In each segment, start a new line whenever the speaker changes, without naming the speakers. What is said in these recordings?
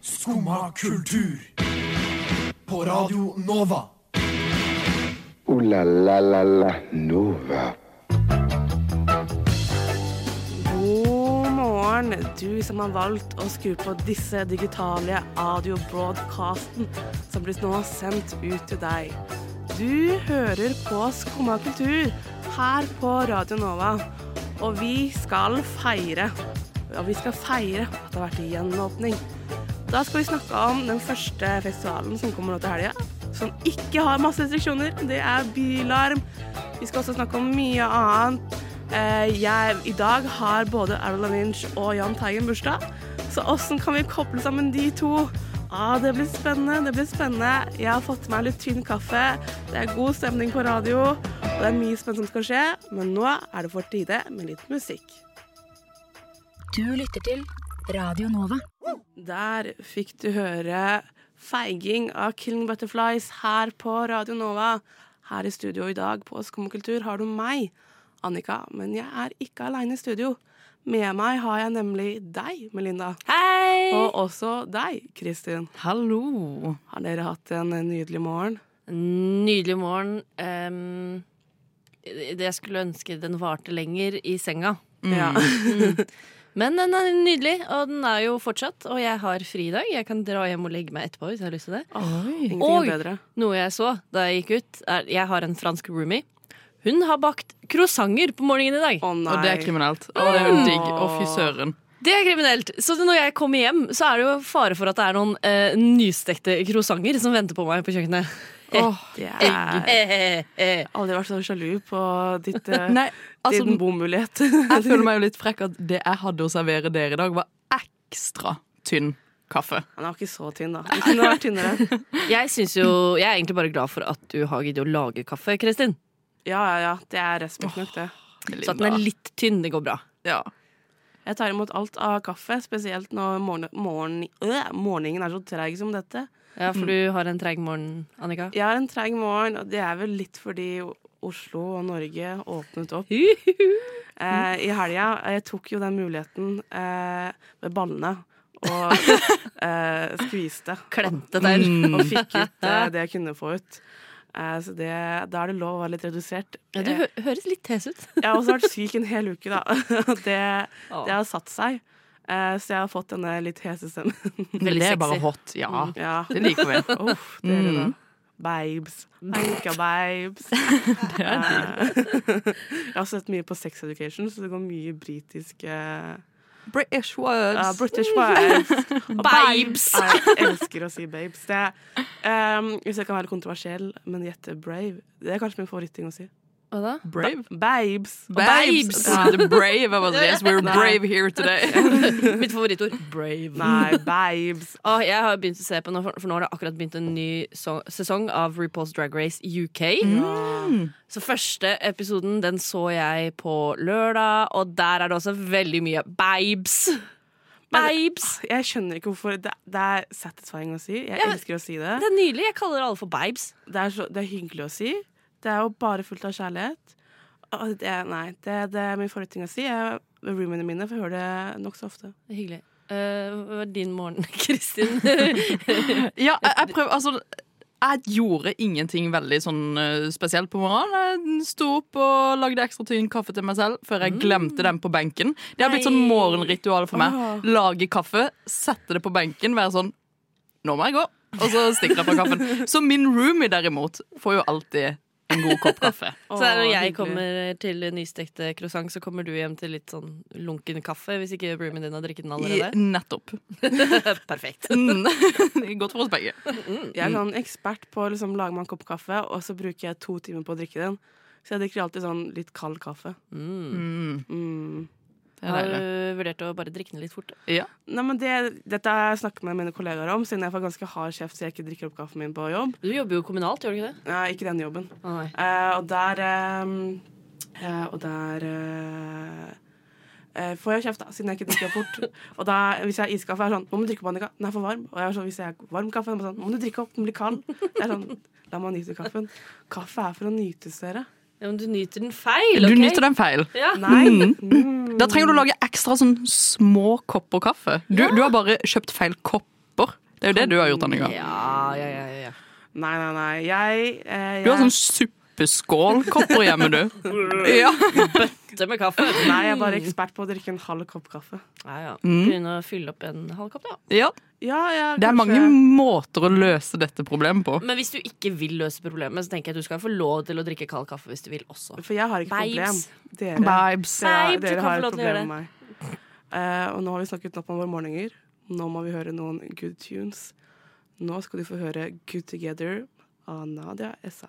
Skumma kultur. På Radio Nova.
Ooh la la la la Nova.
God morgen, du som har valgt å skru på disse digitale audio-broadcasten som blir nå sendt ut til deg. Du hører på Skumma kultur her på Radio Nova, og vi skal feire. Ja, vi skal feire at det har vært gjenåpning. Da skal vi snakke om den første festivalen som kommer nå til helga, som ikke har masse restriksjoner. Det er Bylarm. Vi skal også snakke om mye annet. Eh, Jeg, I dag har både Erla Lynch og Jahn Teigen bursdag, så åssen kan vi koble sammen de to? Ah, det blir spennende, det blir spennende. Jeg har fått meg litt tynn kaffe. Det er god stemning på radio, og det er mye spennende som skal skje. Men nå er det på tide med litt musikk.
Du lytter til Radio Nova.
Der fikk du høre feiging av Killing Butterflies her på Radio Nova. Her i studio i dag på Skumkultur har du meg, Annika, men jeg er ikke aleine i studio. Med meg har jeg nemlig deg, Melinda,
Hei!
og også deg, Kristin.
hallo.
Har dere hatt en nydelig morgen?
Nydelig morgen. Ehm, det jeg skulle ønske den varte lenger i senga.
Ja.
Men den er nydelig, og den er jo fortsatt. Og jeg har fri i dag. Jeg kan dra hjem og legge meg etterpå hvis jeg har lyst til det.
Ingenting
Oi.
er bedre.
Noe jeg så da jeg gikk ut, er Jeg har en fransk roomie. Hun har bakt croissanter på morgenen i dag. Mm.
Å nei.
Og det er kriminelt. Og det er jo digg. Å, fy søren.
Det er kriminelt. Så det- når jeg kommer hjem, så er det jo fare for at det er noen eh, nystekte croissanter som venter på meg på kjøkkenet.
Åh,
Det er- Jeg
Eh, eh, eh.
har aldri vært så sjalu på ditt, eh,
Nei,
din
altså,
bomulighet.
jeg føler meg jo litt frekk at det jeg hadde å servere dere i dag, var ekstra tynn kaffe.
Han er ikke så tynn, da. Du kunne vært tynnere.
Jeg, synes jo, jeg er egentlig bare glad for at du har giddet å lage kaffe, Kristin.
Ja, ja, ja. Det er respekt nok, det.
Så at den er litt tynn, det går bra.
Ja.
Jeg tar imot alt av kaffe, spesielt når morgen, morgen, øh, morgenen er så treig som dette.
Ja, For du har en treig morgen, Annika.
Jeg har en treig morgen, og det er vel litt fordi Oslo og Norge åpnet opp eh, i helga. Jeg tok jo den muligheten eh, med ballene og eh, skviste.
Klemte der.
Og fikk ut eh, det jeg kunne få ut. Eh, så det, da er det lov å være litt redusert.
Ja, du hø høres litt hes ut.
Jeg har også vært syk en hel uke, da. Det, det har satt seg. Eh, så jeg har fått denne litt hese stemmen.
Veldig
det er bare
sexy.
hot. Ja.
Ja.
Det liker vi.
Uff,
Mm.
det er det da. Babes. Anka babes. Eh, jeg har også sett mye på Sex Education, så det går mye britisk eh,
British
ja,
words.
British wives.
Babes!
Jeg elsker å si babes. Det, er, ehm, hvis jeg kan være kontroversiell, men gjette brave. Det er kanskje min favoritting å si.
Hva da?
Brave.
Babes.
Babes.
Ja, the brave. Jeg bare, yes, we're
Nei.
brave here today.
Mitt favorittord. Brave.
Nei, babes.
Å, Ah, jeg har begynt å se på nå, for for nå har det akkurat begynt en ny so sesong av RuPaul's Drag Race UK. Så første episoden den så jeg på lørdag, og der er det også veldig mye babes. Babes!
Jeg skjønner ikke hvorfor det, det er satisfying å si. Jeg
Ja, men-
elsker å si det.
Det er nydelig. Jeg kaller alle for babes.
Det er, så, det er hyggelig å si. Det er jo bare fullt av kjærlighet. Og det, nei, det, det er min forrige ting å si. Jeg, roomiene mine får høre det nokså ofte.
Det er hyggelig. Eh, hva var din morgen, Kristin?
Ja, jeg, jeg prøver, altså... Jeg gjorde ingenting veldig sånn eh, spesielt på morgenen. Jeg sto opp og lagde ekstra tynn kaffe til meg selv før jeg glemte den på benken. Det har blitt sånn
Nei.
morgenritual for meg.
Åh.
Lage kaffe, sette det på benken, være sånn Nå må jeg gå. Og så stikker jeg fra kaffen. Så min roomie derimot får jo alltid en god kopp kaffe.
så det er når
Å,
jeg
hyggelig.
kommer til nystekte croissant, så kommer du hjem til litt sånn lunken kaffe, hvis ikke roomien din har drikket den
I,
allerede.
nettopp.
Perfekt.
Mm. Godt for oss begge.
Jeg er
Mm.
sånn ekspert på å liksom, lage meg en kopp kaffe, og så bruker jeg to timer på å drikke den. Så jeg drikker alltid sånn litt kald kaffe. Mm.
Det er
Har
deilig.
du vurdert å bare drikke den litt fort? da?
Ja.
Nei, men det, dette har jeg snakket med mine kollegaer om, siden jeg får ganske hard kjeft så jeg ikke drikker opp kaffen min på jobb.
Du jobber jo kommunalt, gjør du ikke det?
Nei, ikke denne jobben.
Å, nei.
Eh, og der ehm, eh, Og der eh, eh, får jeg kjeft, da, siden jeg ikke drikker fort. og da, hvis jeg har iskaffe, er jeg sånn Nå må du drikke opp, Annika. Den er for varm. Og jeg er sånn, hvis jeg har varm kaffe, er jeg sånn, nå må du drikke opp, den blir kald. Det er sånn, La meg nyte kaffen. Kaffe er for å nytes, dere.
Ja, men du nyter den feil,
Du
ok?
nyter den feil. Mm.
Ja.
Nei!
Da trenger du å lage ekstra sånn små kopper kaffe. Du, du har bare kjøpt feil kopper. Det er jo det du har gjort, Annika.
Ja, ja, ja, ja, ja.
Nei, nei, nei. Jeg, eh, jeg
Du har sånn suppeskålkopper hjemme, du. Ja.
Bøtte med kaffe.
Nei, jeg er bare ekspert på å drikke en halv kopp kaffe.
Ja, ja. Begynne å fylle opp en halv kopp, ja.
ja.
Ja, ja,
Det er
kanskje-
mange måter å løse dette problemet på.
Men hvis du ikke vil løse problemet, så tenker jeg at du skal få lov til å drikke kald kaffe hvis du vil også.
For jeg har ikke problem.
Vibes.
Dere,
Vibes.
dere,
Vibes, du
dere
kan
har
få
et
lov til å
problem
gjøre
med meg. Eh, og nå har vi snakket nok om våre morgener. Nå må vi høre noen good tunes. Nå skal du få høre Good Together av Nadia Essa.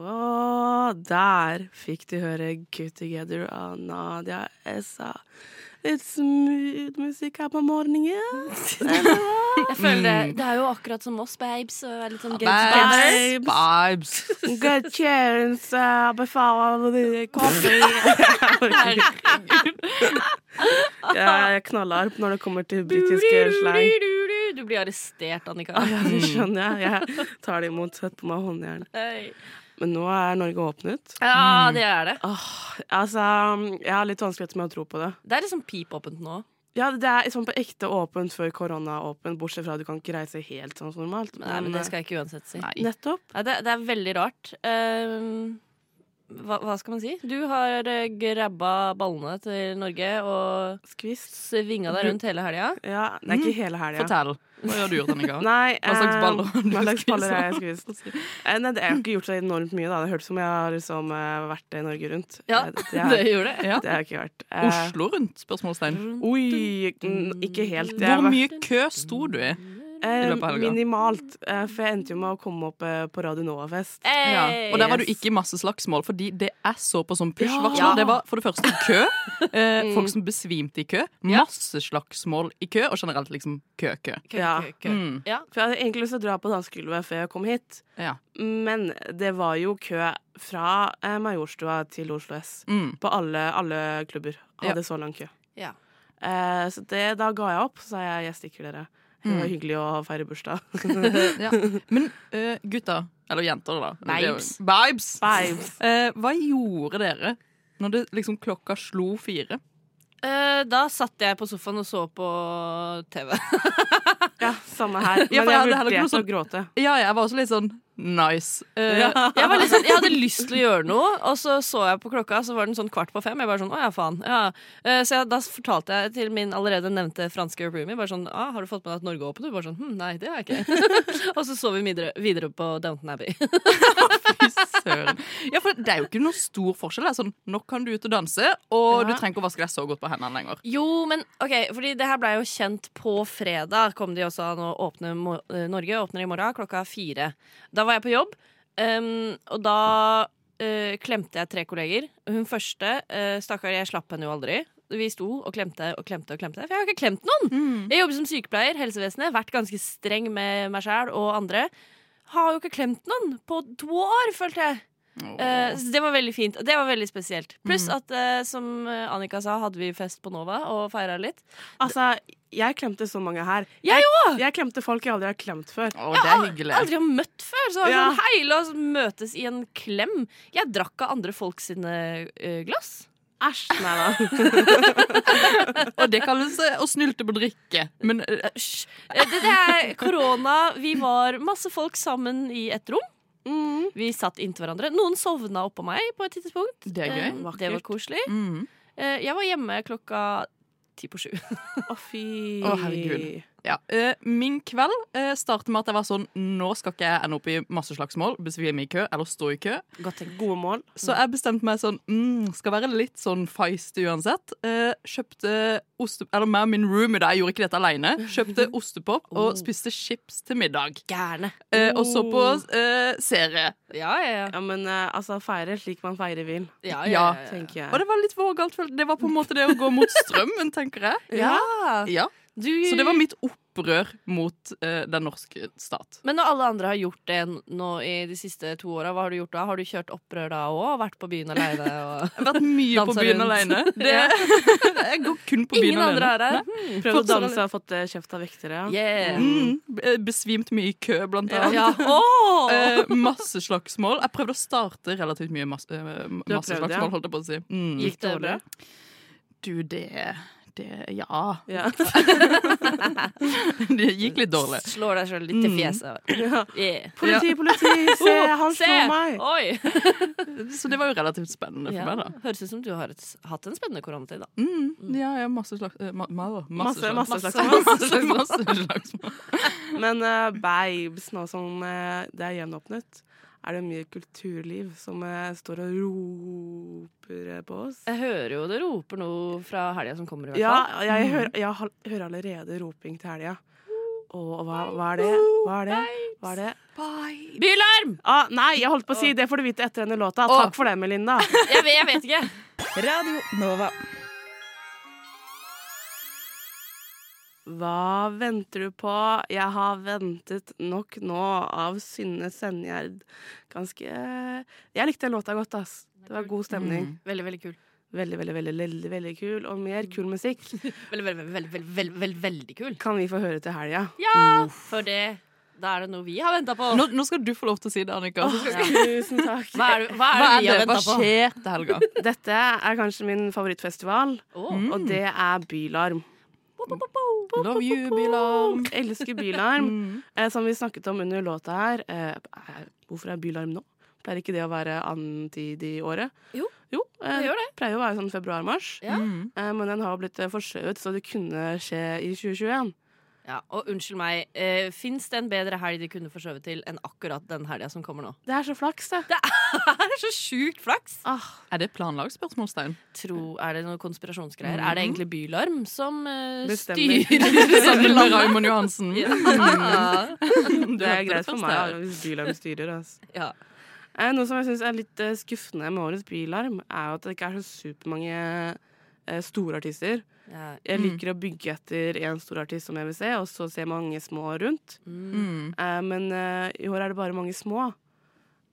Og der fikk du høre Good Together av Nadia Essa. Litt smooth musikk her på morgenen.
Jeg føler det, det er jo akkurat som oss, babes. Og er litt sånn
Babes.
babes.
Vibes.
Good tunes. Uh, befaler coffee. Jeg er knallharp når det kommer til britiske sånn slang.
Du blir arrestert, Annika.
Ja, det skjønner jeg. Jeg tar det imot søtt på meg håndjern.
Hei.
Men nå er Norge åpnet.
Ja, det er det.
Altså, Jeg har litt vanskeligheter med å tro på det.
Det er liksom pipåpent nå.
Ja, Det er sånn på ekte åpent før korona er åpen, bortsett fra at du kan ikke reise helt sånn som normalt.
Nei, men det skal jeg ikke uansett si.
eh, Nettopp.
Nei, det, det er veldig rart. Ehm, hva, hva skal man si? Du har eh, grabba ballene til Norge og
Skvist.
svinga deg rundt hele helga.
Ja, det er ikke hele helga.
Fortell. Hva har du gjort, Annika?
Nei,
Hva slags
eh,
baller har du
hva slags
skvist?
baller har jeg skvist? Eh, Nei, det, jeg har ikke gjort så enormt mye, da. Det hørtes ut som jeg har liksom, eh, vært i Norge rundt.
Ja,
Eh, det,
det
har-
gjorde det.
Ja.
det har jeg ikke vært. Eh,
Oslo rundt? Spørsmålstegn.
Oi, mm, ikke helt. Jeg har
Hvor
vært-
mye kø sto du i?
Eh,
løpet av helga?
minimalt, eh, for jeg endte jo med å komme opp eh, på Radio Nova-fest.
Ja.
Hey,
Og der var du
yes.
ikke i masse slagsmål, fordi det jeg så på som push-varsler,
Ja. Mm.
det var for det første kø. Eh, folk som besvimte i kø. Masse slagsmål i kø, og generelt liksom kø-kø.
Kø,
Ja.
kø, kø.
Mm.
Ja.
For jeg hadde egentlig lyst til å dra på dansegulvet før jeg kom hit,
Ja.
men det var jo kø fra eh, Majorstua til Oslo S.
Mm.
På alle, alle klubber hadde så lang kø.
Ja.
Eh, så det, da ga jeg opp, så sa jeg jeg stikker dere. Det
Mm.
var hyggelig å feire bursdag.
Ja. Men eh, gutta, eller jenter, da. Det er jo-
Vibes.
Vibes.
Vibes.
Eh, hva gjorde dere når det liksom klokka slo fire?
Eh, da satt jeg på sofaen og så på TV.
Ja, samme her. Men
Ja, for jeg hadde
jeg
heller
vurderte
ikke noe
å
sånn-
gråte.
Ja, jeg var også litt sånn nice. Eh,
Jeg, var litt sånn, jeg hadde lyst til å gjøre noe, og så så jeg på klokka, så var den sånn kvart på fem. Jeg bare sånn, å ja, faen. Ja. Eh, så jeg, da fortalte jeg til min allerede nevnte franske roomie bare sånn, ah, har du fått med deg at Norge er åpent? Og hun bare sånn, hm, nei, det har jeg ikke. og så så vi videre, videre på Downton Abbey.
Fy søren. Ja, for det er jo ikke noe stor forskjell. Det er sånn, nå kan du ut og danse, og du trenger ikke å vaske deg så godt på hendene lenger.
Jo, men ok, fordi det her ble jo kjent på fredag. Kom de også nå åpner mo- eh, Norge åpner i morgen klokka fire. Da var jeg på jobb, em, og da eh, klemte jeg tre kolleger. Hun første, uh, stakkar, jeg slapp henne jo aldri. Vi sto og klemte og klemte og klemte, for jeg har ikke klemt noen. Jeg jobber som sykepleier, helsevesenet, vært ganske streng med meg sjæl og andre. Har jo ikke klemt noen på to år, følte jeg. Eh, så det var veldig fint, og det var veldig spesielt. Pluss at, eh, som eh, Annika sa, hadde vi fest på Nova og feira litt.
sånn-
Altså, jeg klemte så mange her.
Jeg
Jeg klemte folk jeg aldri har klemt før.
Å, det er hyggelig.
Aldri har møtt før! Så var det
Ja.
sånn, hei, la oss møtes i en klem. Jeg drakk av andre folk sine eh, glass.
Æsj. Nei da.
Og det kalles eh, å snylte på drikke. Men eh,
Æsj. Eh, Det, det er korona. Vi var masse folk sammen i et rom.
Mm.
Vi satt inntil hverandre. Noen sovna oppå meg på et tidspunkt.
Det er gøy.
Eh, Det var
Vakkert.
koselig.
mm.
Eh, Jeg var hjemme klokka ti på sju.
Å, fy.
Å, herregud. ja. Eh, Min kveld eh, startet med at jeg var sånn Nå skal ikke jeg ende opp i masse slagsmål, besvime i kø eller stå i kø.
Godt tenkt.
Gode mål.
Så jeg bestemte meg sånn mm, Skal være litt sånn feisty uansett. Eh, kjøpte oste... Eller meg og min roomie, da. Jeg gjorde ikke dette aleine. Kjøpte ostepop og spiste chips til middag.
Oh. Gærne. Oh.
Eh, og så på eh, serie.
Ja, ja, ja.
Ja, men eh, altså, feire slik man feirer vin,
ja,
Ja,
ja.
tenker jeg.
Og det var litt vågalt. følte- Det var på en måte det å gå mot strømmen, tenker jeg.
Ja.
Ja.
Du,
Så det var mitt opprør mot eh, den norske stat.
Men når alle andre har gjort det nå i de siste to åra, hva har du gjort da? Har du kjørt opprør da òg? Vært på byen aleine? Og...
Jeg har vært mye på
Dansa
byen
rundt.
alene. Det,
Ja.
jeg går kun på byen
Ingen
alene.
andre er her?
Prøvd å
Fortsatt
danse og fått eh, kjeft av vektere.
Yeah.
Mm, b- besvimt mye i kø, blant annet.
Ja. Åh!
Eh, masse slagsmål. Jeg prøvde å starte relativt mye masse, eh,
Du har
masse
prøvd, ja.
slagsmål, holdt jeg på å si. Mm.
Gikk det bra?
Du, det, det Ja.
Ja.
Det gikk litt dårlig.
Slår deg sjøl litt i fjeset. Yeah. Oh,
Politi, politi, se, han
Se!
slår meg!
Oi!
Så det var jo relativt spennende for
Ja.
meg, da.
Høres ut som du har et, hatt en spennende koronatid, da.
Mm, ja, ja, masse slags... eh, ma ma masse,
Masse, masse
slags-
slagsmål.
slags- masse slagsmål.
Men eh, babes, nå som eh, det er gjenåpnet, er det mye kulturliv som eh, står og roper eh, på oss.
Jeg hører jo det roper noe fra helga som kommer, i hvert
Ja,
fall.
jeg hører, jeg hal- hører allerede roping til helga. Og hva, hva er det? Hva er det? Hva er det?
Bylarm!
Ah, nei, jeg holdt på å si det får du vite etter denne låta. Takk for det, Melinda.
Jeg vet, jeg vet ikke.
Radio Nova.
Hva venter du på? Jeg har ventet nok nå av Synne Senjerd. Ganske Jeg likte den låta godt, ass. Det var god stemning.
Veldig, veldig kul.
Veldig, veldig, veldig, veldig, veldig kul. Og mer kul musikk
Veldig, veldig, veldig, veldig, veldig, veldig, veldig kul.
kan vi få høre til helga.
Ja, for det Da er det noe vi har venta på.
Nå, nå skal du få lov til å si det, Annika. Så skal-
Tusen takk.
Hva er det, hva er det
Hva er
vi har
det? Hva
venta på?
skjer til helga?
Dette er kanskje min favorittfestival,
Åh.
og det er Bylarm.
Love you, Bylarm.
Jeg elsker Bylarm.
Mm.
Eh, som vi snakket om under låta her, eh, er, hvorfor er Bylarm nå? Pleier ikke det å være annen tid i året?
Jo,
jo eh,
det gjør det.
Pleier å være sånn februar-mars.
Ja.
Mm.
Eh, men den har blitt eh, forskjøvet, så det kunne skje i 2021.
ja, Og unnskyld meg, eh, fins det en bedre helg de kunne forskjøvet til enn akkurat den helga som kommer nå?
Det er så flaks, det.
Det er så sjukt flaks!
Ah,
Er det planlagt, spørsmålstegn?
Tro, er det noen konspirasjonsgreier? Er det egentlig Bylarm som eh,
Bestemmer.
styrer
Sammen med Raymond Johansen.
Ja.
Mm.
det er greit for meg hvis Bylarm styrer. Altså.
Ja.
Eh, Noe som jeg synes er litt eh, skuffende med årets Bylarm, er jo at det ikke er så supermange eh, store artister.
Ja.
Jeg liker å bygge etter én stor artist som jeg vil se, og så se mange små rundt.
Mm.
Eh, men eh, i år er det bare mange små.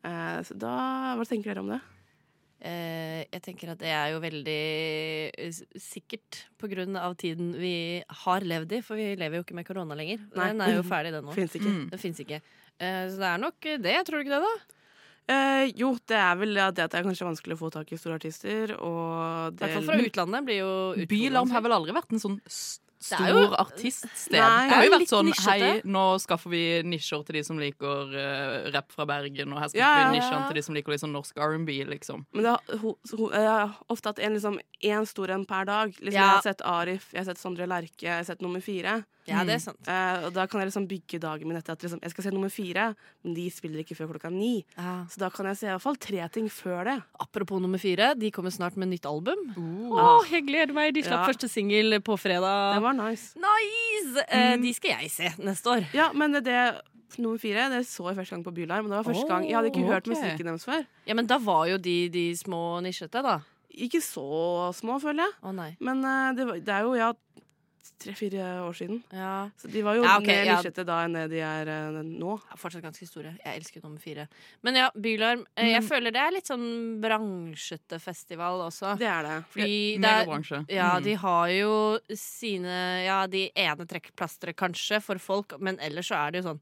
Eh, så da Hva tenker dere om det?
Eh, jeg tenker at det er jo veldig eh, s- sikkert på grunn av tiden vi har levd i, for vi lever jo ikke med korona lenger.
Nei.
Den er jo ferdig, den nå. Mm.
Fins ikke.
Mm.
Den fins ikke. Eh, så det er nok det, tror du ikke det, da?
Eh, jo, det er vel det at det er kanskje vanskelig å få tak i store artister, og
I
det
hvert fall fra utlandet blir jo utrolig
Bylarm har
vanskelig.
vel aldri vært en sånn s-
Det er jo-
stor artiststed.
Nei.
det har jo
Det er
vært
litt
sånn
nisjete.
hei, nå skaffer vi nisjer til de som liker eh, rapp fra Bergen, og her skaffer
Ja, ja,
vi
ja.
nisjene til de som liker litt sånn norsk R&B, liksom.
Men det har ho, så ho, eh, ofte at en liksom én stor en per dag. Liksom, Jeg har
Ja.
sett Arif, jeg har sett Sondre Lerche, jeg har sett nummer fire.
Ja, det er sant.
Eh, og da kan jeg liksom bygge dagen min etter at liksom, jeg skal se nummer fire, men de spiller ikke før klokka ni.
Ja.
Så da kan jeg se i hvert fall tre ting før det.
Apropos nummer fire, de kommer snart med nytt album. Åh, jeg gleder meg! De
Ja.
slapp første singel på
Det
fredag.
var nice.
Nice! Eh, de skal jeg se neste år.
Ja, men det, det nummer fire det så jeg første gang på Bylarm. og Det var første gang, Jeg hadde ikke
Oh,
hørt
ok.
musikken deres før.
Ja, Men da var jo de de små nisjete, da.
Ikke så små, føler jeg.
Å nei.
Men eh, det, var, det er jo ja, tre-fire år siden.
Ja.
Så de var jo
Ja, ok,
mer
ja.
nisjete da enn det de er eh, nå.
Ja, fortsatt ganske store. Jeg elsker nummer fire. Men ja, Bylarm. eh, Jeg føler det er litt sånn bransjete festival også.
Det er det.
Fordi det er
Megabransje.
ja,
Mm.
de har jo sine Ja, de ene trekkplasteret kanskje for folk, men ellers så er det jo sånn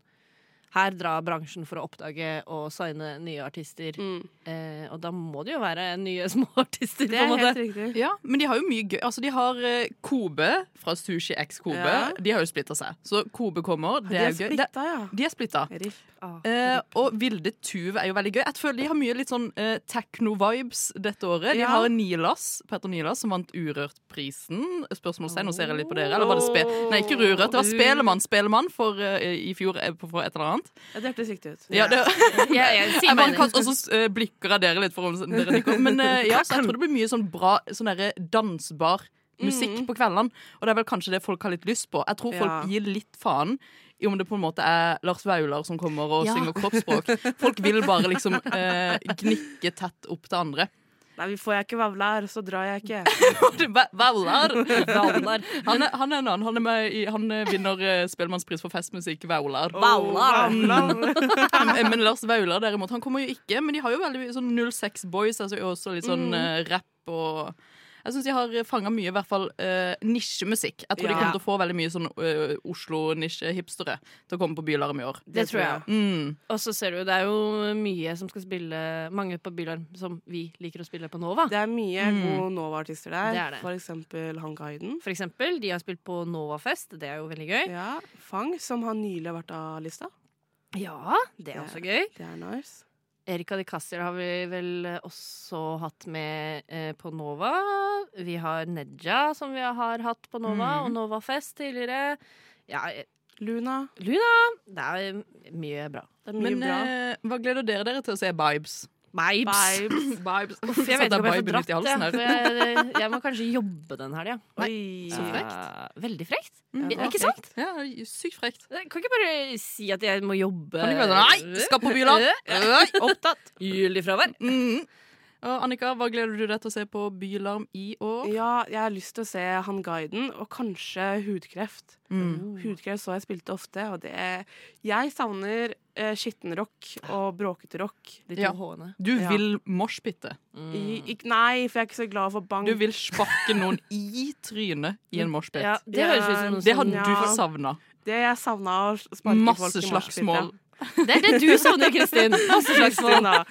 Her drar bransjen for å oppdage og signe nye artister.
Mm.
Eh, og da må det jo være nye små artister,
Det
på en
er helt
måte.
riktig.
Ja, men de har jo mye gøy. Altså, de har eh, Kobe fra Sushi X Kobe.
Ja.
De har jo splitta seg. Så Kobe kommer. Det
De
er
er
jo gøy. Det-
splitta, ja.
De er splitta.
Riff. Ah,
Eh, og Vilde Tuve er jo veldig gøy. Jeg føler De har mye litt sånn eh, techno-vibes dette året. De
Ja.
har Nilas, Petter Nilas som vant Urørt-prisen. Spørsmålstegn, nå ser jeg litt på dere. Eller var det spe Nei, ikke Urørt. Det var Spelemann, Spelemann for, eh, i fjor eh, for et eller annet.
Ja, det hørtes riktig ut.
Ja, det,
Ja, jeg,
jeg bare kan, og så eh, blikker jeg dere litt for om dere nikker. Men eh, ja, så jeg tror det blir mye sånn bra sånn derre dansbar musikk på kveldene. Og det er vel kanskje det folk har litt lyst på. Jeg tror folk
Ja.
gir litt faen. I om det på en måte er Lars Vaular som kommer og
Ja.
synger kroppsspråk. Folk vil bare liksom eh, gnikke tett opp til andre.
Nei, vi får jeg ikke vavlar, så drar jeg ikke.
Vaular!
Vaular.
Han er, han er en annen. Han, er med i, han eh, vinner eh, Spellemannspris for festmusikk, Vaular.
Vaular.
Eh, Men Lars Vaular derimot, han kommer jo ikke. Men de har jo veldig mye sånn 06 Boys, altså jo også litt sånn eh, rapp og jeg syns de har fanga mye i hvert fall eh, nisjemusikk. Jeg tror de
Ja.
kommer til å få veldig mye sånn eh, Oslo-nisje-hipstere til å komme på Bylarm i år.
Det tror jeg.
Mm.
Og så ser du, det er jo mye som skal spille Mange på Bylarm som vi liker å spille på Nova.
Det er mye gode Nova-artister der.
Det er det.
For eksempel han guiden.
For eksempel, de har spilt på Novafest. Det er jo veldig gøy.
Ja, Fang, som har nylig vært av lista.
Ja, det er også gøy.
Det er nice.
Erika de Cassier har vi vel også hatt med eh, på Nova. Vi har Neja, som vi har hatt på Nova,
Mm.
og Novafest tidligere. Ja, eh,
Luna.
Luna! Det er mye bra.
Det er mye
Men
bra.
eh, hva gleder dere dere til å se? Vibes.
Vibes!
Vibes.
Uff, jeg vet ikke
Satt
om jeg
viben
får
ut i
dratt,
halsen
jeg.
her.
For jeg, jeg må kanskje jobbe den helga.
Oi.
Så frekt.
Veldig frekt.
Mm.
I- Ikke sant?
Ja, sykt frekt.
Kan ikke bare si at jeg må jobbe
Kan du ikke være sånn, Nei, skal på Byland! Øy.
Opptatt! Julefravær.
Mm. Og Annika, hva gleder du deg til å se på Bylarm i år?
Ja, jeg har lyst til å se han guiden, og kanskje hudkreft.
Mm.
Hudkreft så jeg spilte ofte, og det Jeg savner eh, skittenrock og bråkete rock.
De
Ja.
to H-ene.
Du
Ja.
vil moshpitte.
I,
Mm.
ikk- nei, for jeg er ikke så glad for bank.
Du vil sparke noen i trynet i en moshpit.
Ja, det høres ut som noe
Det har
som-
Ja.
du savna.
Det jeg savna å sparke folk
Masse
i
slagsmål.
Det er det du savner, Kristin. Masse slagsmål.
Slagsmål.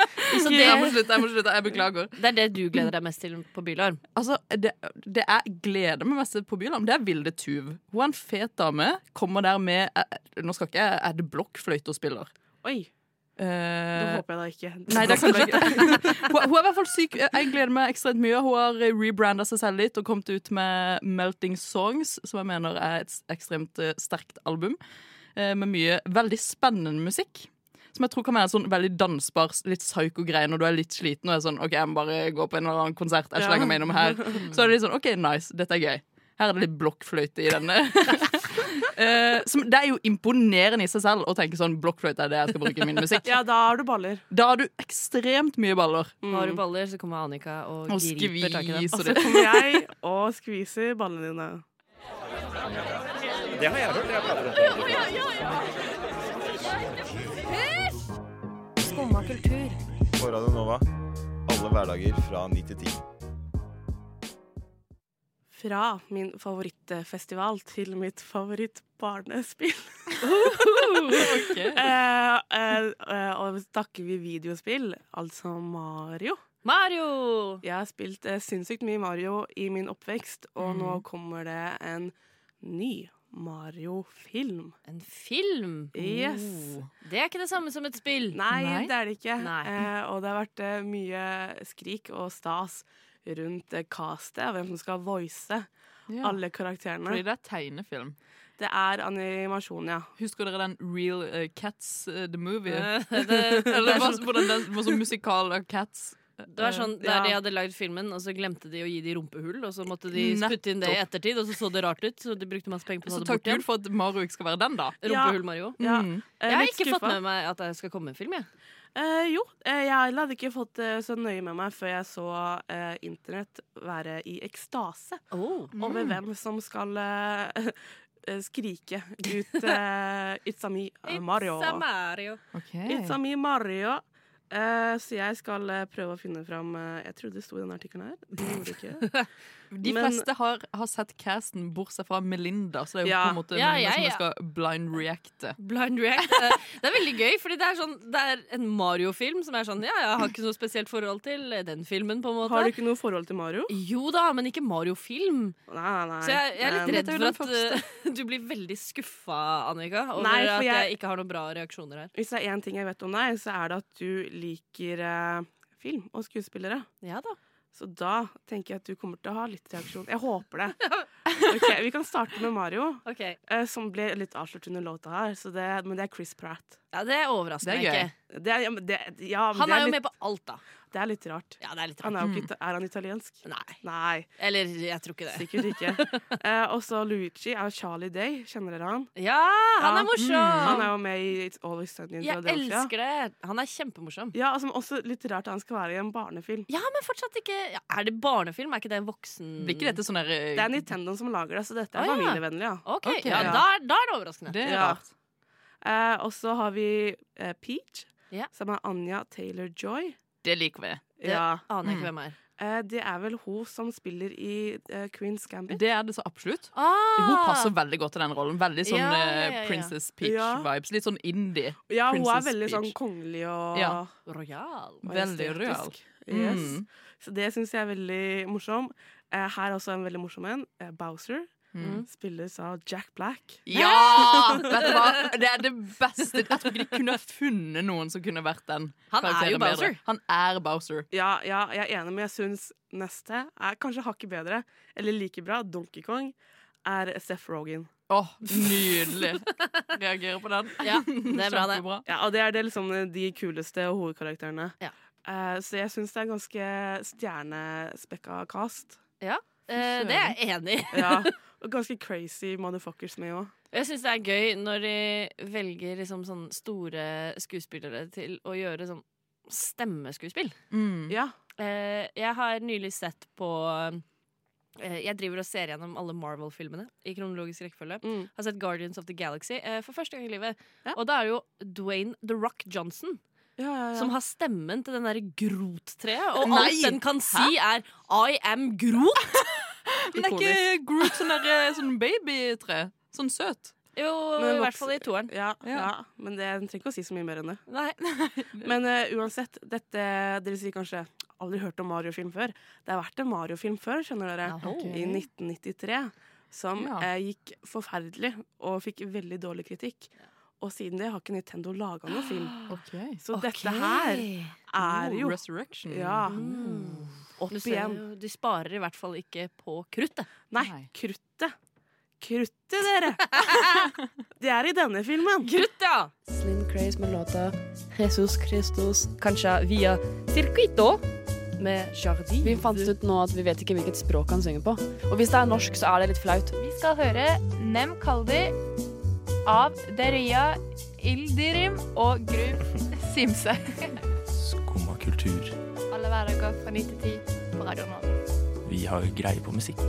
Så
Jeg må
det,
slutte, jeg må slutte. Jeg beklager.
det er det du gleder deg mest til på Bylarm.
Altså, det, det jeg gleder meg mest til på Bylarm, det er Vilde Tuv. Hun er en fet dame. Kommer der med eh, Nå skal ikke jeg Er det blokkfløyte hun spiller?
Oi, det
Eh,
håper jeg da ikke.
Nei, det er kanskje ikke hun, hun er i hvert fall syk. Jeg gleder meg ekstremt mye. Hun har rebranda seg selv litt og kommet ut med 'Melting Songs', som jeg mener er et ekstremt eh, sterkt album. eh, Med mye veldig spennende musikk. Som jeg tror kan være sånn veldig dansbar, litt psyko-greie når du er litt sliten og er sånn OK, jeg må bare gå på en eller annen konsert. Jeg slenger meg innom her. Så er det litt sånn OK, nice. Dette er gøy. Her er det litt blokkfløyte i denne. Eh, som, det er jo imponerende i seg selv å tenke sånn blokkfløyte er det jeg skal bruke i min musikk.
Ja, da har du baller.
Da har du ekstremt mye baller.
Mm.
Har du baller, så kommer Annika og,
Og
griper tak i dem.
skviser
Så
det.
kommer jeg og skviser ballene dine.
Skumma kultur.
På Radio Nova. Alle hverdager fra 9 til 10.
Fra min favorittfestival til mitt favorittbarnespill. eh, eh, eh, og snakker vi videospill, altså Mario.
Mario!
Jeg har spilt eh, sinnssykt mye Mario i min oppvekst, og nå
Mm.
kommer det en ny Mario-film.
En film. Oh.
Yes.
Det er ikke det samme som et spill.
Nei,
Nei.
det er det ikke.
Nei.
Eh, og det har vært eh, mye skrik og stas rundt eh, castet, hvem som skal voice alle karakterene.
Fordi det er tegnefilm.
Det er animasjon, ja.
Husker dere den Real eh, Cats eh, The Movie?
Eh,
Eller hva, hvordan den var sånn musikal av Cats.
Det var sånn der
Ja.
de hadde lagd filmen, og så glemte de å gi de rumpehull, og så måtte de spytte inn det i ettertid, og så så det rart ut, så de brukte masse penger på å
Så
ta det
takk
bort
Gud
igjen.
for at Mario ikke skal være den, da.
Ja.
Rumpehull, Mario.
ja.
Mm.
Eh,
Jeg har
litt
ikke
skuffa.
fått med meg at det skal komme en film, jeg.
Eh, jo, eh, jeg hadde ikke fått det så nøye med meg før jeg så eh, internett være i ekstase
Mm.
over hvem som skal eh, eh, skrike ut eh, It's a me, eh, Mario.
It's a Mario.
It's a me, Mario. Eh, så jeg skal eh, prøve å finne fram eh, Jeg trodde det sto i denne artikkelen her. Det gjorde det ikke.
De
Men-
fleste har, har sett casten, bortsett fra Melinda, så det er jo
Ja.
på en måte
Ja,
Melinda
jeg-
som jeg skal blind reacte.
Blind React. Eh, Det er veldig gøy, fordi det er, sånn, det er en Mario-film som er sånn Ja, jeg har ikke noe spesielt forhold til eh, den filmen, på en måte.
Har du ikke noe forhold til Mario?
Jo da, men ikke Mario-film.
Nei, nei, nei.
Så jeg, jeg er litt
Men-
redd
dette er
for
jo
at
den
eh, du blir veldig skuffa, Annika, over
Nei, for
at jeg...
jeg-
ikke har noen bra reaksjoner her.
Hvis det er én ting jeg vet om deg, så er det at du liker eh, film og skuespillere.
Ja da.
Så da tenker jeg at du kommer til å ha litt reaksjon. Jeg håper det. Ok, Vi kan starte med Mario,
OK.
eh, som ble litt avslørt under låta her. Så det, men det er Chris Pratt.
Ja, det overrasker
Det er
meg
gøy.
ikke.
Det er, ja, men det, ja, men
Han
det
er jo
litt,
med på alt, da.
Det er litt rart.
Ja, det er litt
Han er,
rart.
jo ikke, ita- er han italiensk?
Nei.
Nei,
Eller jeg tror ikke det.
sikkert ikke. Eh, og så Luigi er jo Charlie Day. Kjenner dere han?
Ja, han
Ja. mm,
er morsom!
Han er jo med i It's Always Sunny in
jeg
Philadelphia.
elsker det. Han er kjempemorsom.
Ja, altså, også litt rart at han skal være i en barnefilm.
Ja, men fortsatt ikke ja, Er det barnefilm? Er ikke det en voksen
Blir ikke dette sånn der
Det er Nintendo som lager det, så dette er
Å, ja.
familievennlig. Ja.
Ok,
Ok.
ja,
Ja.
da, er- da er det overraskende.
Det er
Ja.
rart.
Eh, og så har vi eh, Peach,
Ja.
som er Anja Taylor-Joy.
Det liker vi.
Det-
Ja.
Aner jeg ikke hvem er.
Eh, det er vel hun som spiller i eh, Queen's Gambit.
Det er det så absolutt.
Ah!
Hun passer veldig godt til den rollen. Veldig sånn
Ja, ja, ja,
eh,
ja.
Princess Peach-vibes. Litt sånn indie.
Ja, hun er
Princess
veldig sånn
Peach.
kongelig og
Ja.
Royal.
Veldig
majestetisk.
rød.
Yes.
Mm.
Så det syns jeg er veldig morsom. Eh, her er også en veldig morsom en. Eh, Bowser.
Mm.
Spilles av Jack Black.
Ja! Vet du hva? Det er det beste. Jeg tror ikke de kunne funnet noen som kunne vært den.
Han er
karakteren
jo
bedre.
Bowser.
Han er Bowser.
Ja, ja, jeg er enig, men jeg syns neste er kanskje hakket bedre, eller like bra, Donkey Kong, er Seth Rogan.
Åh, nydelig. Reagerer på den.
Ja, det er bra, det.
Kjempebra.
Ja, og det er det liksom de kuleste hovedkarakterene.
Ja.
Eh, så jeg syns det er ganske stjernespekka cast.
Eh, det er jeg enig i.
Ja, og ganske crazy motherfuckers med òg.
Jeg syns det er gøy når de velger liksom sånn store skuespillere til å gjøre sånn stemmeskuespill.
Mm.
Ja.
Eh, jeg har nylig sett på eh, Jeg driver og ser gjennom alle Marvel-filmene i kronologisk rekkefølge.
Mm.
Har sett Guardians of the Galaxy eh, for første gang i livet.
Ja.
Og da er det jo Dwayne The Rock Johnson
Ja, ja, ja.
som har stemmen til den derre Grot-treet. Og
Nei!
alt den kan si, er I am Grot.
Men er ikke Groot sånn, der, eh, sånn babytre? Sånn søt?
Jo,
Men
i
voksen-
hvert fall i toeren.
ja,
Ja.
ja. Men det jeg trenger ikke å si så mye mer enn det.
Nei.
Men eh, uansett, dette Dere sier kanskje aldri hørt om Mario-film før. Det har vært en Mario-film før, skjønner dere.
Jaha. Ok.
I 1993. Som
Ja.
eh, gikk forferdelig og fikk veldig dårlig kritikk. Og siden det har ikke Nintendo laga noen film.
Okay.
Så dette her er jo
Resurrection.
Ja.
Mm. Du
Opp
ser
igjen.
jo, de sparer i hvert fall ikke på kruttet.
Nei,
Nei.
kruttet. Kruttet, dere! Det er i denne filmen.
Krutt, ja!
Slim Craze med låta Jesus Christus, kanskje via Circuito med Jardi. Vi fant ut nå at vi vet ikke hvilket språk han synger på. Og hvis det er norsk, så er det litt flaut.
Vi skal høre Nem Kaldi av Deria Ildirim og Gru Simse.
Skumma kultur.
Alle hverdager fra 9 til 10 på Radio Nova.
Vi har greie på musikk.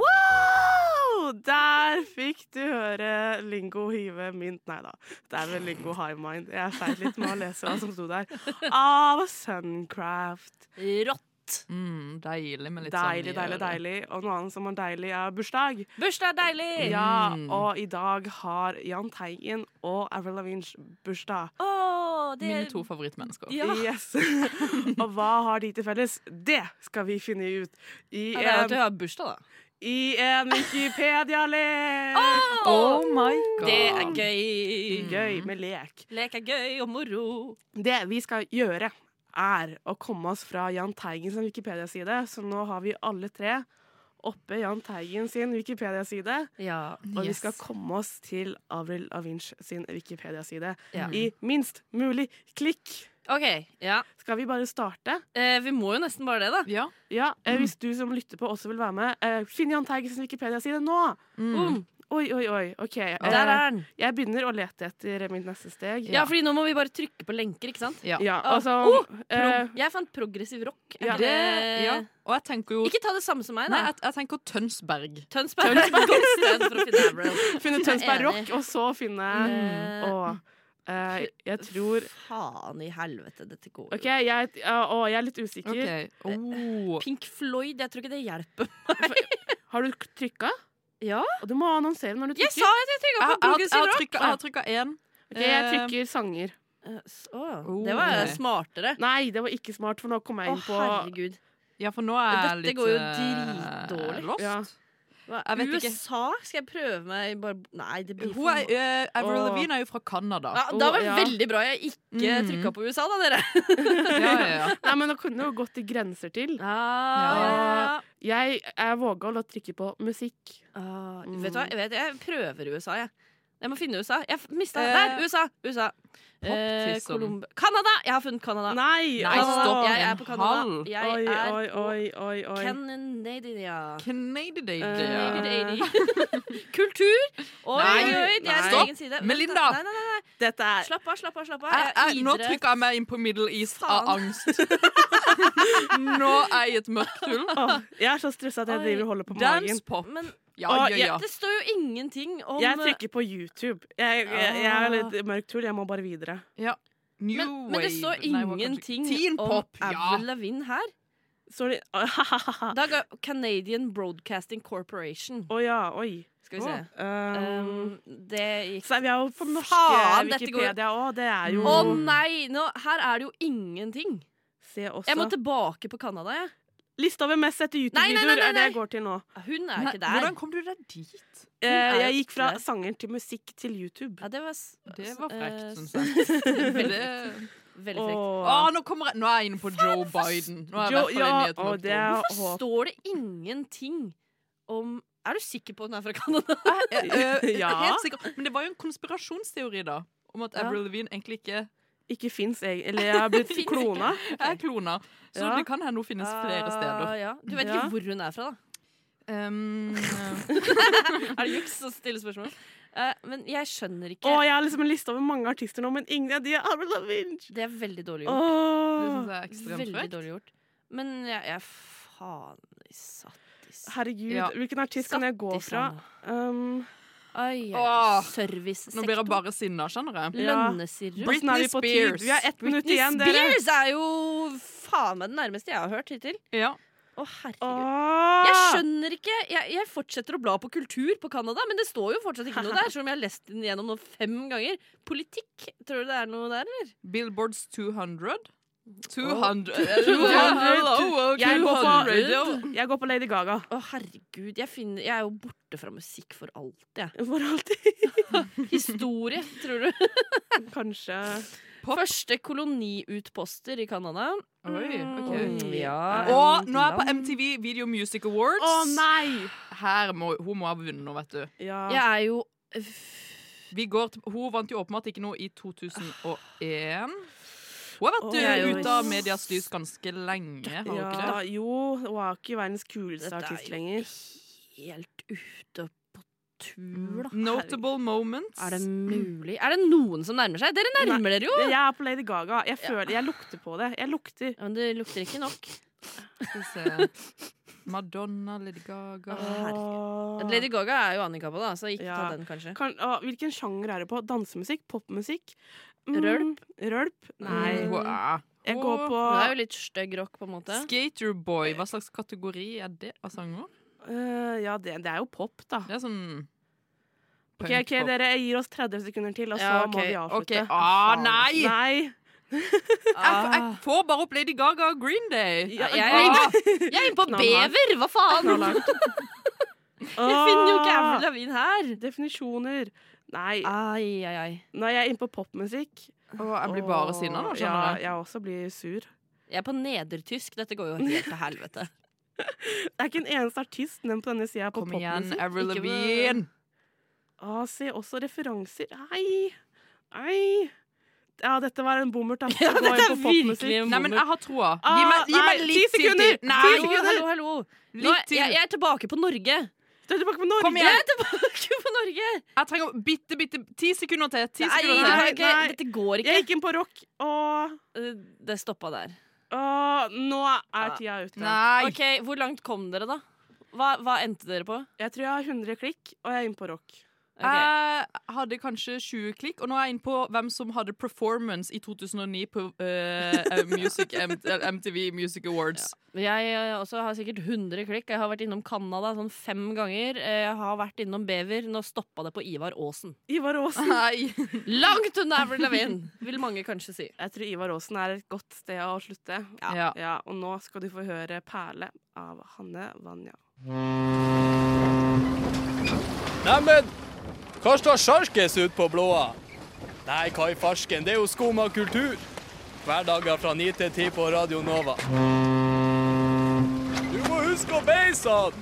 Wow! Der fikk du høre Lingo hive mynt Nei da, det er vel Lingo high mind. Jeg feil litt med å lese hva som sto der. Av Suncraft.
Rått.
Mm, deilig med litt
Deilig,
sånn i
deilig,
øret.
deilig. Og noe annet som er deilig, er bursdag.
Bursdag er deilig!
Ja,
Mm.
og i dag har Jahn Teigen og Avril Lavigne bursdag.
Åh, det
Mine to favorittmennesker.
Ja.
Yes. Og hva har de til felles? Det skal vi finne ut i
Ja, det er jo at
en,
du har bursdag, da.
i en Wikipedia-lek.
Oh my god.
Det er gøy.
Gøy med lek.
Lek er gøy og moro.
Det vi skal gjøre, er å komme oss fra Jahn Teigen sin Wikipedia-side. Så nå har vi alle tre oppe Jahn Teigen sin Wikipedia-side.
Ja.
Og vi
Yes.
skal komme oss til Avril Lavigne sin Wikipedia-side
Ja.
i minst mulig klikk.
OK. Ja.
Skal vi bare starte?
Eh, vi må jo nesten bare det, da.
Ja.
Ja, eh, Hvis du som lytter på også vil være med, eh, finn Jahn Teigen sin Wikipedia-side nå!
Mm.
Oi, oi, oi. OK. eh,
Der er den.
Jeg begynner å lete etter mitt neste steg.
Ja, fordi nå må vi bare trykke på lenker, ikke sant?
Ja.
Ja,
Ah,
altså
oh,
eh,
Prog jeg fant progressiv rock. Er
Ja.
det,
ja. Og jeg tenker jo
Ikke ta det samme som meg,
Nei,
da.
jeg, jeg tenker Tønsberg.
Tønsberg er et godt sted for å finne Avril.
Finne
Jeg er
Tønsberg
enig.
Rock, og så finne
Eh,
Å, eh, jeg tror
Faen i helvete, dette går jo
OK, jeg, ja, å, jeg er litt usikker.
Ok. Oh.
Pink Floyd, jeg tror ikke det hjelper.
Har du trykka?
Ja.
Og du må annonsere når du
Jeg
trykker.
sa at jeg trykka
Jeg
på
har- jeg
progressiv
har
rock!
trykket- jeg har trykka én.
Ok, jeg trykker sanger.
Eh, s- åh,
Oh.
det var smartere.
Nei, det var ikke smart, for nå kom
Å,
jeg inn på
herregud.
Ja, for nå er jeg
Dette
litt
går jo
eh,
dritdårlig.
Lost.
Ja.
Jeg
vet ikke.
USA? Skal jeg prøve meg i bare Nei, det blir
Hun er,
for
eh, Avril
Åh.
Lavigne er jo fra Canada.
ja, Da var det
ja.
veldig bra jeg ikke
Mhm.
trykka på USA, da, dere.
Ja, ja, ja.
Nei, men nå kunne jo gått til grenser til.
Ah,
Jeg, jeg våga å la trykke på musikk.
ah,
Mm.
Vet du hva, jeg, vet, jeg prøver USA, jeg. Jeg må finne USA. Jeg f- mista
Eh,
Der! USA! USA. Eh,
poptissen.
Colomb- Canada! Jeg har funnet Canada.
Nei!
Nei,
åh.
stopp.
Ah. Jeg er på Canada.
Halv.
Jeg
Oi,
er
oi, oi, oi,
på
oi.
Canada.
Canadian.
Eh,
Kultur! Oi,
Nei,
oi, oi, det er
stopp.
min egen side. Vent,
Melinda.
da. Nei, nei, nei, nei.
Dette er
Slapp av, slapp av. slapp av
Jeg, jeg, eh, nå
idrett.
trykker jeg meg inn på Middle East av
Faen.
angst. nå er jeg i et mørkt hull.
Åh, Jeg er så stressa at jeg
Oi,
driver og holder på magen.
Dance pop.
Men
Ja,
Å,
ja,
jeg-
ja.
det står jo ingenting om
Jeg trykker på YouTube. Jeg, jeg, jeg
Ah.
er litt mørkt hull, jeg må bare videre.
New
men, men det
wave.
står
Nei, hva kan du-
ingenting
Teen
om
pop, ja.
Avril Lavigne her.
Står det Å
Da ga uh, Canadian Broadcasting Corporation.
ja, oi.
Skal vi se.
Um,
Um, det gikk
så er vi er jo på norske
faen, dette går-
Wikipedia òg. Det er jo
Å nei! Nå, her er det jo ingenting.
Se også.
Jeg må tilbake på Canada, jeg.
Lista over mest sette
Nei, nei, nei,
YouTube-videoer
nei,
er det jeg
nei.
går til nå.
Hun er
Nei,
ikke der.
Hvordan kom du deg dit?
Eh,
er
jeg gikk fra
der.
sanger til musikk til YouTube.
Ja, det var s-
Det var frekt,
eh,
syns
s-
jeg.
Veldig
Det...
Veldig frekt.
Å, nå, kommer jeg... nå er jeg inne på Joe Biden. Nå er jeg i
Jo,
hvert fall
ja,
inne i et
og
mørkt
det
hull.
er
Hvorfor
håp.
står det ingenting om Er du sikker på at hun er fra Canada?
Eh, eh,
Ja.
Helt sikkert. Men det var jo en konspirasjonsteori, da. Om at
Ja.
Avril Lavigne egentlig ikke
Ikke fins, jeg. Eller jeg har blitt
Finnes ikke.
klona.
er klona. Så
Ja.
det kan hende hun finnes flere steder.
Ah, ja. Du vet
Ja.
ikke hvor hun er fra, da?
Um,
Er det juks å stille spørsmål? Eh, men jeg skjønner ikke.
Å, jeg har liksom en liste over mange artister nå, men ingen av de er Avril Lavigne.
Det er veldig dårlig gjort.
det
Åh,
syns jeg er ekstremt
Veldig
frekt.
dårlig gjort. Men jeg, jeg faen i sattis.
herregud.
Ja.
Hvilken artist kan jeg gå fra?
Skattisane.
Um,
Ai,
Åh. Nå blir jeg
servicesektor.
bare sinna, skjønner jeg.
Ja.
Lønnesirup.
Britney
Hvordan er vi på tid?
Spears.
Vi har ett minutt
Britney
igjen, dere.
Spears er jo faen meg den nærmeste jeg har hørt hittil.
Ja.
Å, herregud.
Åh!
Jeg skjønner ikke jeg, jeg fortsetter å bla på kultur på Canada, men det står jo fortsatt ikke noe der. Selv om jeg har lest den gjennom nå fem ganger. Politikk, tror du det er noe der, eller?
Billboards 200. 200 Hello,
Jeg går, på,
200.
jeg går på Lady Gaga.
Å, herregud. Jeg, finner, jeg er jo borte fra musikk for alltid, jeg.
For alltid.
Historie, tror du.
Kanskje.
Pop.
Første koloniutposter i Canada.
Oi, ok.
Mm, ja.
Og nå er jeg på MTV Video Music Awards.
Å nei!
Her må, hun må ha vunnet nå, vet du.
Ja.
Jeg er jo
Vi går til, hun vant jo åpenbart ikke noe i 2001. Hun har vært
Å, jeg er
eh,
jo-
ute av medias lys ganske lenge. Har hun ikke
Ja,
det?
jo, hun er ikke verdens kuleste
Dette er
artist
jo
lenger.
helt ute på tur, da.
Notable moments.
Er det mulig? Er det noen som nærmer seg? Dere nærmer dere jo!
Jeg er på Lady Gaga. Jeg, føler, jeg lukter på det. Jeg lukter.
Ja, men det lukter ikke nok.
Skal vi se. Madonna, Lady Gaga
Åh.
Lady Gaga er jo Annika på, da, så ikke
Ja.
ta den, kanskje.
kan, å, hvilken sjanger er det på? Dansemusikk? Popmusikk? Mm,
Rølp?
Rølp? Nei.
Mm.
Hun er-
Jeg går på
Hun er jo litt stygg rock, på en måte.
Skaterboy. Hva slags kategori er det av sanger?
Øh, Ja, det, det er jo pop, da.
Det er sånn
Ok, ok, Dere gir oss 30 sekunder til, og så
Ja, ok,
må vi avslutte.
ok. Ah,
Faen.
nei!
nei! Ah.
Jeg, f- jeg får bare opp Lady Gaga og Green Day.
Ja,
Ah.
jeg, er inne, jeg er inne på
Knallhardt.
bever! Hva faen?
Knallhardt.
Jeg finner jo ikke
Åh,
Ah.
Avril Lavigne her.
Ah. Definisjoner. Nei,
Ai, ai, ai.
nå er jeg inne på popmusikk.
Åh, jeg blir bare sinna nå,
Åh, Ja,
skjønner
jeg også blir sur.
Jeg er på nedertysk. Dette går jo helt til helvete.
Det er ikke en eneste artist nevnt på denne sida på
Kom igjen,
popmusikk.
Avril
Ikke på-
Lavigne.
Ah, se også referanser. Ei, ei. Ja, dette var en bommert. da. Gå inn på popmusikk.
en
Nei, men jeg har troa.
Ah,
Gi meg, gi
nei,
meg litt
ti
til.
sekunder!
Nei,
Ti
Hallo, hallo, hallo. Nå,
litt
jeg,
til.
jeg er tilbake på Norge.
Du er tilbake på Norge!
Kom igjen.
Jeg er tilbake på Norge!
Jeg trenger bitte, bitte ti sekunder til. Ti
Nei,
sekunder
det
til.
kan jeg ikke.
Nei, nei.
Dette går
Jeg
ikke.
gikk inn på rock, og
Eh, Det stoppa der.
Åh, nå er tida ute.
Ah. Nei.
Ok, Hvor langt kom dere, da? Hva, hva endte dere på?
Jeg tror jeg har 100 klikk, og jeg er inne på rock.
Jeg hadde kanskje 20 klikk, og nå er jeg inne på hvem som hadde performance i 2009 på eh, music, M MTV Music Awards.
Jeg eh, også har sikkert 100 klikk. Jeg har vært innom Canada sånn fem ganger. Eh, Jeg har vært innom Bever. Nå stoppa det på Ivar Aasen.
Ivar Aasen.
Nei.
Langt unna Avril Lavigne, vil mange kanskje si.
Jeg tror Ivar Aasen er et godt sted å slutte.
Ja.
Ja, og nå skal du få høre 'Perle' av Hanne Vanja.
Neimen, hva står sjarkes ut på blåa? Nei, hva i farsken, det er jo skum av kultur. Hverdager fra 9 til 10 på Radio Nova. Du må huske å beise han!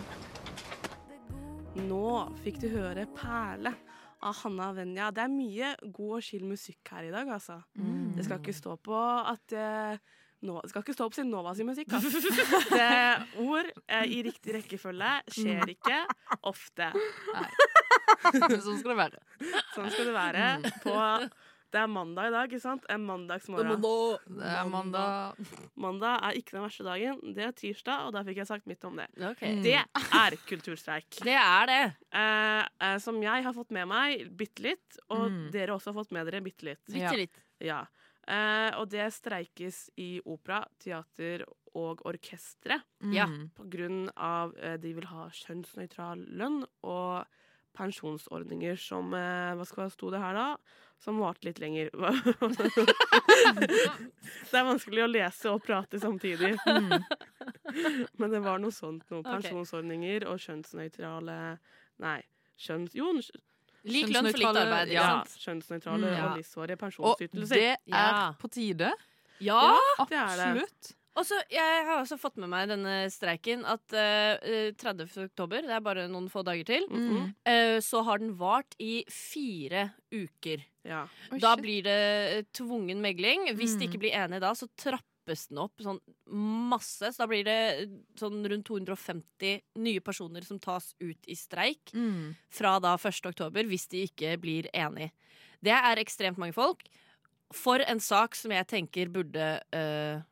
Nå fikk du høre 'Perle' av Hanna Vanja. Det er mye god og chill musikk her i dag, altså. Det skal ikke stå på at eh, Nova, det skal ikke stå på sin Nova sin musikk. Altså. Det ord eh, i riktig rekkefølge skjer ikke ofte.
Sånn skal det være.
Sånn skal det være på Det er mandag i dag, ikke sant? En mandagsmorgen.
Det er mandag.
Mandag er ikke den verste dagen. Det er tirsdag, og da fikk jeg sagt mitt om det.
Ok.
Det er kulturstreik.
Mm. Det er det.
Eh, eh, som jeg har fått med meg bitte litt, og dere også har fått med dere bitte litt.
Bitte litt.
Ja. Eh, og det streikes i opera, teater og orkestre
Mm.
Ja.
på grunn av eh, de vil ha kjønnsnøytral lønn og pensjonsordninger som eh, Hva skal sto det her, da? Som varte litt lenger. det er vanskelig å lese og prate samtidig.
Mm.
Men det var noe sånt noe. Pensjonsordninger og kjønnsnøytrale Nei. Kjønns... Jo,
Lik lønn for likt arbeid.
ja,
Ja.
Kjønnsnøytrale-
kjønnsnøytrale
Mm. Ja.
og livsvarige
Og
pensjonsytelser.
det er
Ja.
på tide.
ja.
det er det.
Absolutt.
Og så, Jeg har også fått med meg i denne streiken at eh, 30. oktober, det er bare noen få dager til,
mm.
Mhm.
eh, så har den vart i fire uker.
ja.
da blir det eh, tvungen megling. Hvis de ikke blir enige da, så trappes den opp sånn masse. Så da blir det eh, sånn rundt 250 nye personer som tas ut i streik
Mm.
fra da 1. oktober hvis de ikke blir enige. Det er ekstremt mange folk. For en sak som jeg tenker burde øh,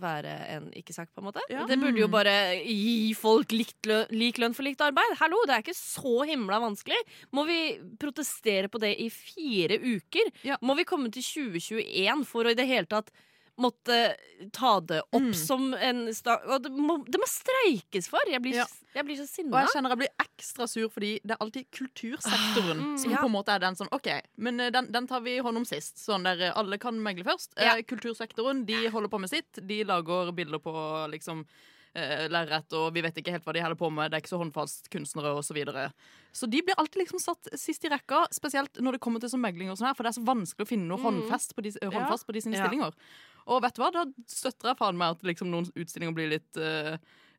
være en ikke-sak, på en måte.
Ja.
Det burde jo
Mm.
bare gi folk likt lø lik lønn for likt arbeid. Hallo, det er ikke så himla vanskelig. Må vi protestere på det i fire uker?
Ja.
Må vi komme til 2021 for å i det hele tatt måtte ta det opp
Mm.
som en sta Og det må, det må streikes for! Jeg blir,
Ja.
jeg blir så
Og
sinna.
jeg kjenner jeg blir ekstra sur, fordi det er alltid kultursektoren som
Ah, ja.
på en måte er den sånn OK, men eh, den, den tar vi hånd om sist. Sånn der eh, alle kan megle først.
Ja.
Eh, Kultursektoren de holder på med sitt. De lager bilder på liksom eh, lerret, og vi vet ikke helt hva de holder på med. Det er ikke så håndfast kunstnere osv. Så, videre. så de blir alltid liksom satt sist i rekka, spesielt når det kommer til sånn megling og sånn her, for det er så vanskelig å finne noe håndfast på de, eh, håndfast på de sine
Mm. Ja.
stillinger. Og vet du hva, da støtter jeg faen meg at liksom noen utstillinger blir litt eh,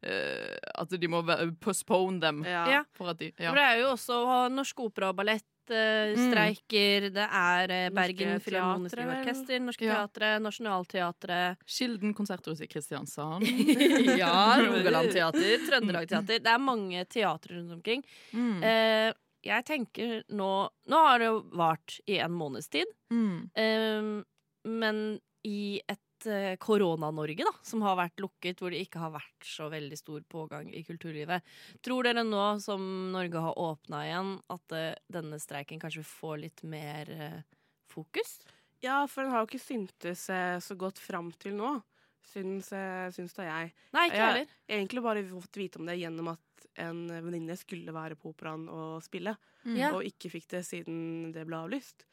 eh, At de må være- postpone dem.
Ja.
Ja.
For at de,
For det er jo også å ha Norsk Opera og Ballett eh, streiker, det er eh, Bergen
Norske
Filharmoniske
Teatre, vel?
Orkester, Norske
Ja.
Teatre, Nationaltheatret
Kilden konserthus i Kristiansand.
Ja, Rogaland Teater, Trøndelag Teater. Det er mange teatre rundt omkring.
Mm.
Eh, jeg tenker nå Nå har det jo vart i en måneds tid,
Mm.
eh, men i et eh, Korona-Norge, da, som har vært lukket, hvor det ikke har vært så veldig stor pågang i kulturlivet. Tror dere nå som Norge har åpna igjen, at eh, denne streiken kanskje får litt mer eh, fokus?
Ja, for den har jo ikke syntes eh, så godt fram til nå, syns, eh, syns da jeg.
Nei, ikke
Ja.
heller.
Egentlig bare fått vite om det gjennom at en venninne skulle være på operaen og spille,
Ja.
og ikke fikk det siden det ble avlyst.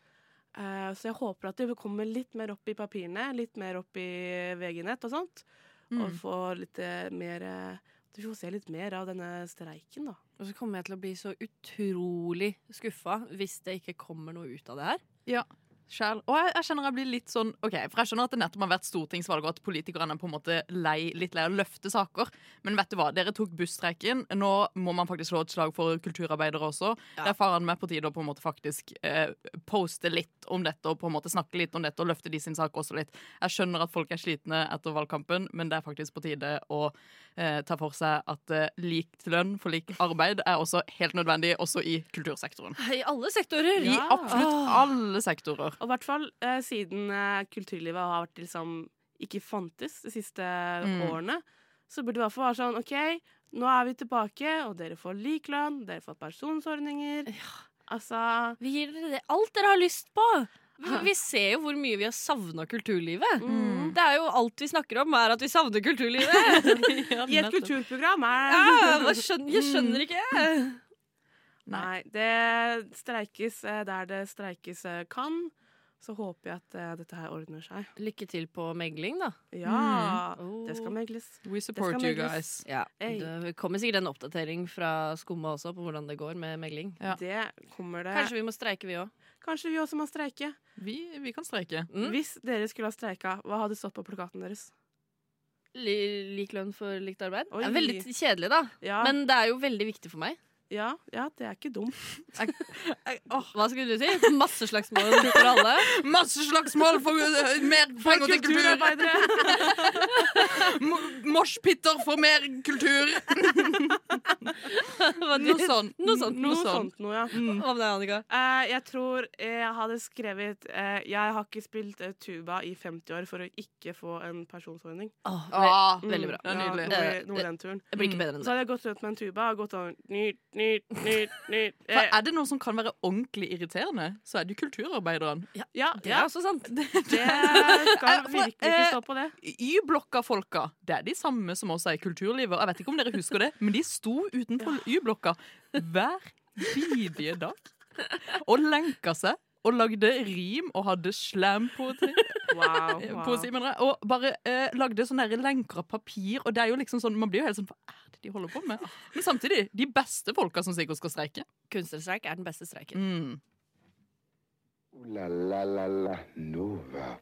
Eh, så jeg håper at det kommer litt mer opp i papirene, litt mer opp i VG-nett og sånt. Og får litt eh, mer eh, At vi får se litt mer av denne streiken, da.
Og så kommer jeg til å bli så utrolig skuffa hvis det ikke kommer noe ut av det her.
Sjæl. Og jeg, jeg kjenner jeg blir litt sånn Ok, For jeg skjønner at det nettopp har vært stortingsvalg, og at politikerne er på en måte lei, litt lei av å løfte saker. Men vet du hva, dere tok busstreiken. Nå må man faktisk slå et slag for kulturarbeidere også. Det er faren meg på tide å på en måte faktisk eh, poste litt om dette, og på en måte snakke litt om dette, og løfte de sin sak også litt. Jeg skjønner at folk er slitne etter valgkampen, men det er faktisk på tide å eh, ta for seg at eh, likt lønn for lik arbeid er også helt nødvendig, også i kultursektoren.
I alle sektorer!
I absolutt alle sektorer.
Og i hvert fall eh, siden eh, kulturlivet har vært liksom ikke fantes de siste årene, så burde det i hvert fall være sånn OK, nå er vi tilbake, og dere får lik lønn, dere får pensjonsordninger. Altså
Vi gir dere det. alt dere har lyst på. Vi, vi ser jo hvor mye vi har savna kulturlivet.
Mm.
Det er jo alt vi snakker om, er at vi savner kulturlivet.
I et kulturprogram er
Ja, hva skjønner, jeg skjønner ikke.
Nei, det streikes eh, der det streikes eh, kan. Så håper jeg at eh, dette her ordner seg.
Lykke til på megling, da.
Ja,
Mm.
det skal megles.
We support you
megles.
guys.
Ja.
Ey.
Det kommer sikkert en oppdatering fra Skumma også på hvordan det går med megling.
Ja.
Det kommer det.
Kanskje vi må streike, vi òg.
Kanskje vi også må streike.
Vi, vi kan streike.
Mm.
Hvis dere skulle ha streika, hva hadde stått på plakaten deres?
Lik lønn for likt arbeid.
Oi.
Det er veldig kjedelig, da.
Ja,
Men det er jo veldig viktig for meg.
ja, ja det er ikke dumt.
Hva skulle du si? Masseslagsmål for alle?
Masse slagsmål for uh, mer penger til kultur!
Kulturarbeidere!
Mo- Moshpitter for mer kultur!
Hva du-
Noe sånn.
Noe sånt. Mm.
Noe sånt noe, ja.
Hva med deg, Annika?
Eh, jeg tror jeg hadde skrevet eh, Jeg har ikke spilt eh, tuba i 50 år for å ikke få en pensjonsordning.
Åh,
Ah,
Veldig bra.
Det er nydelig.
Ja, noe- noe i den turen.
det blir ikke bedre enn
Så
det.
hadde jeg gått rundt med en tuba og gått over nyt, nyt, nyt, nyt.
For
Eh,
Mm. er det noe som kan være ordentlig irriterende, så er det jo kulturarbeideren.
ja,
Det er
ja,
også sant.
det skal
Eh, for,
virkelig ikke
eh,
stå på det.
Y-blokka-folka, det er de samme som også er i kulturlivet. Og jeg vet ikke om dere husker det, men de sto utenfor Y-blokka hver bidige dag og lenka seg. Og lagde rim og hadde slampoesi
Wow.
eh,
wow.
poesi, mener jeg, og bare eh, lagde sånne der lenker av papir. Og det er jo liksom sånn, Man blir jo helt sånn Hva er det de holder på med? Men samtidig, de beste folka som sikkert skal streike.
Kunstnerstreik er den beste streiken.
Mm.
Ooh la la la la Nova.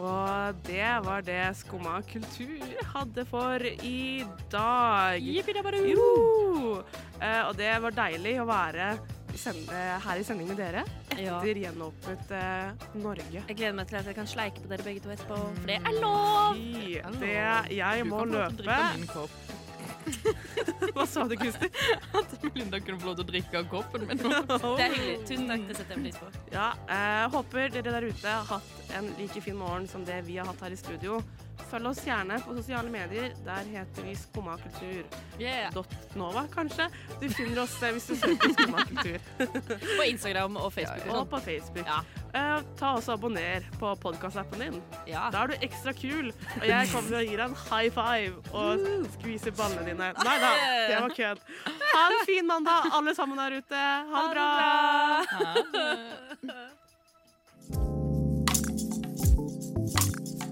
Og det var det Skumma kultur hadde for i dag. Jo. Eh, og det var deilig å være i send- eh, her i sending med dere
Ja.
etter gjenåpnet eh, Norge.
Jeg gleder meg til at jeg kan sleike på dere begge to etterpå, for det er lov!
Fy, det Jeg må løpe. Hva sa du, Kristin?
At Melinda kunne få lov til å drikke av koppen min.
Det er hyggelig. Tusen takk, det setter jeg pris på.
Ja, eh, håper dere der ute har hatt en like fin morgen som det vi har hatt her i studio. Følg oss gjerne på sosiale medier. Der heter vi skummakultur.nova,
Yeah.
kanskje. Du finner oss eh, hvis du søker skummakultur.
På Instagram og Facebook og
Og
sånn.
på Facebook.
Ja.
Eh, ta også Abonner på podkastappen din.
Ja.
Da er du ekstra kul. Og jeg kommer til å gi deg en high five og skvise ballene dine. Nei da, det var kødd. Ha en fin mandag, alle sammen der ute. Ha det bra.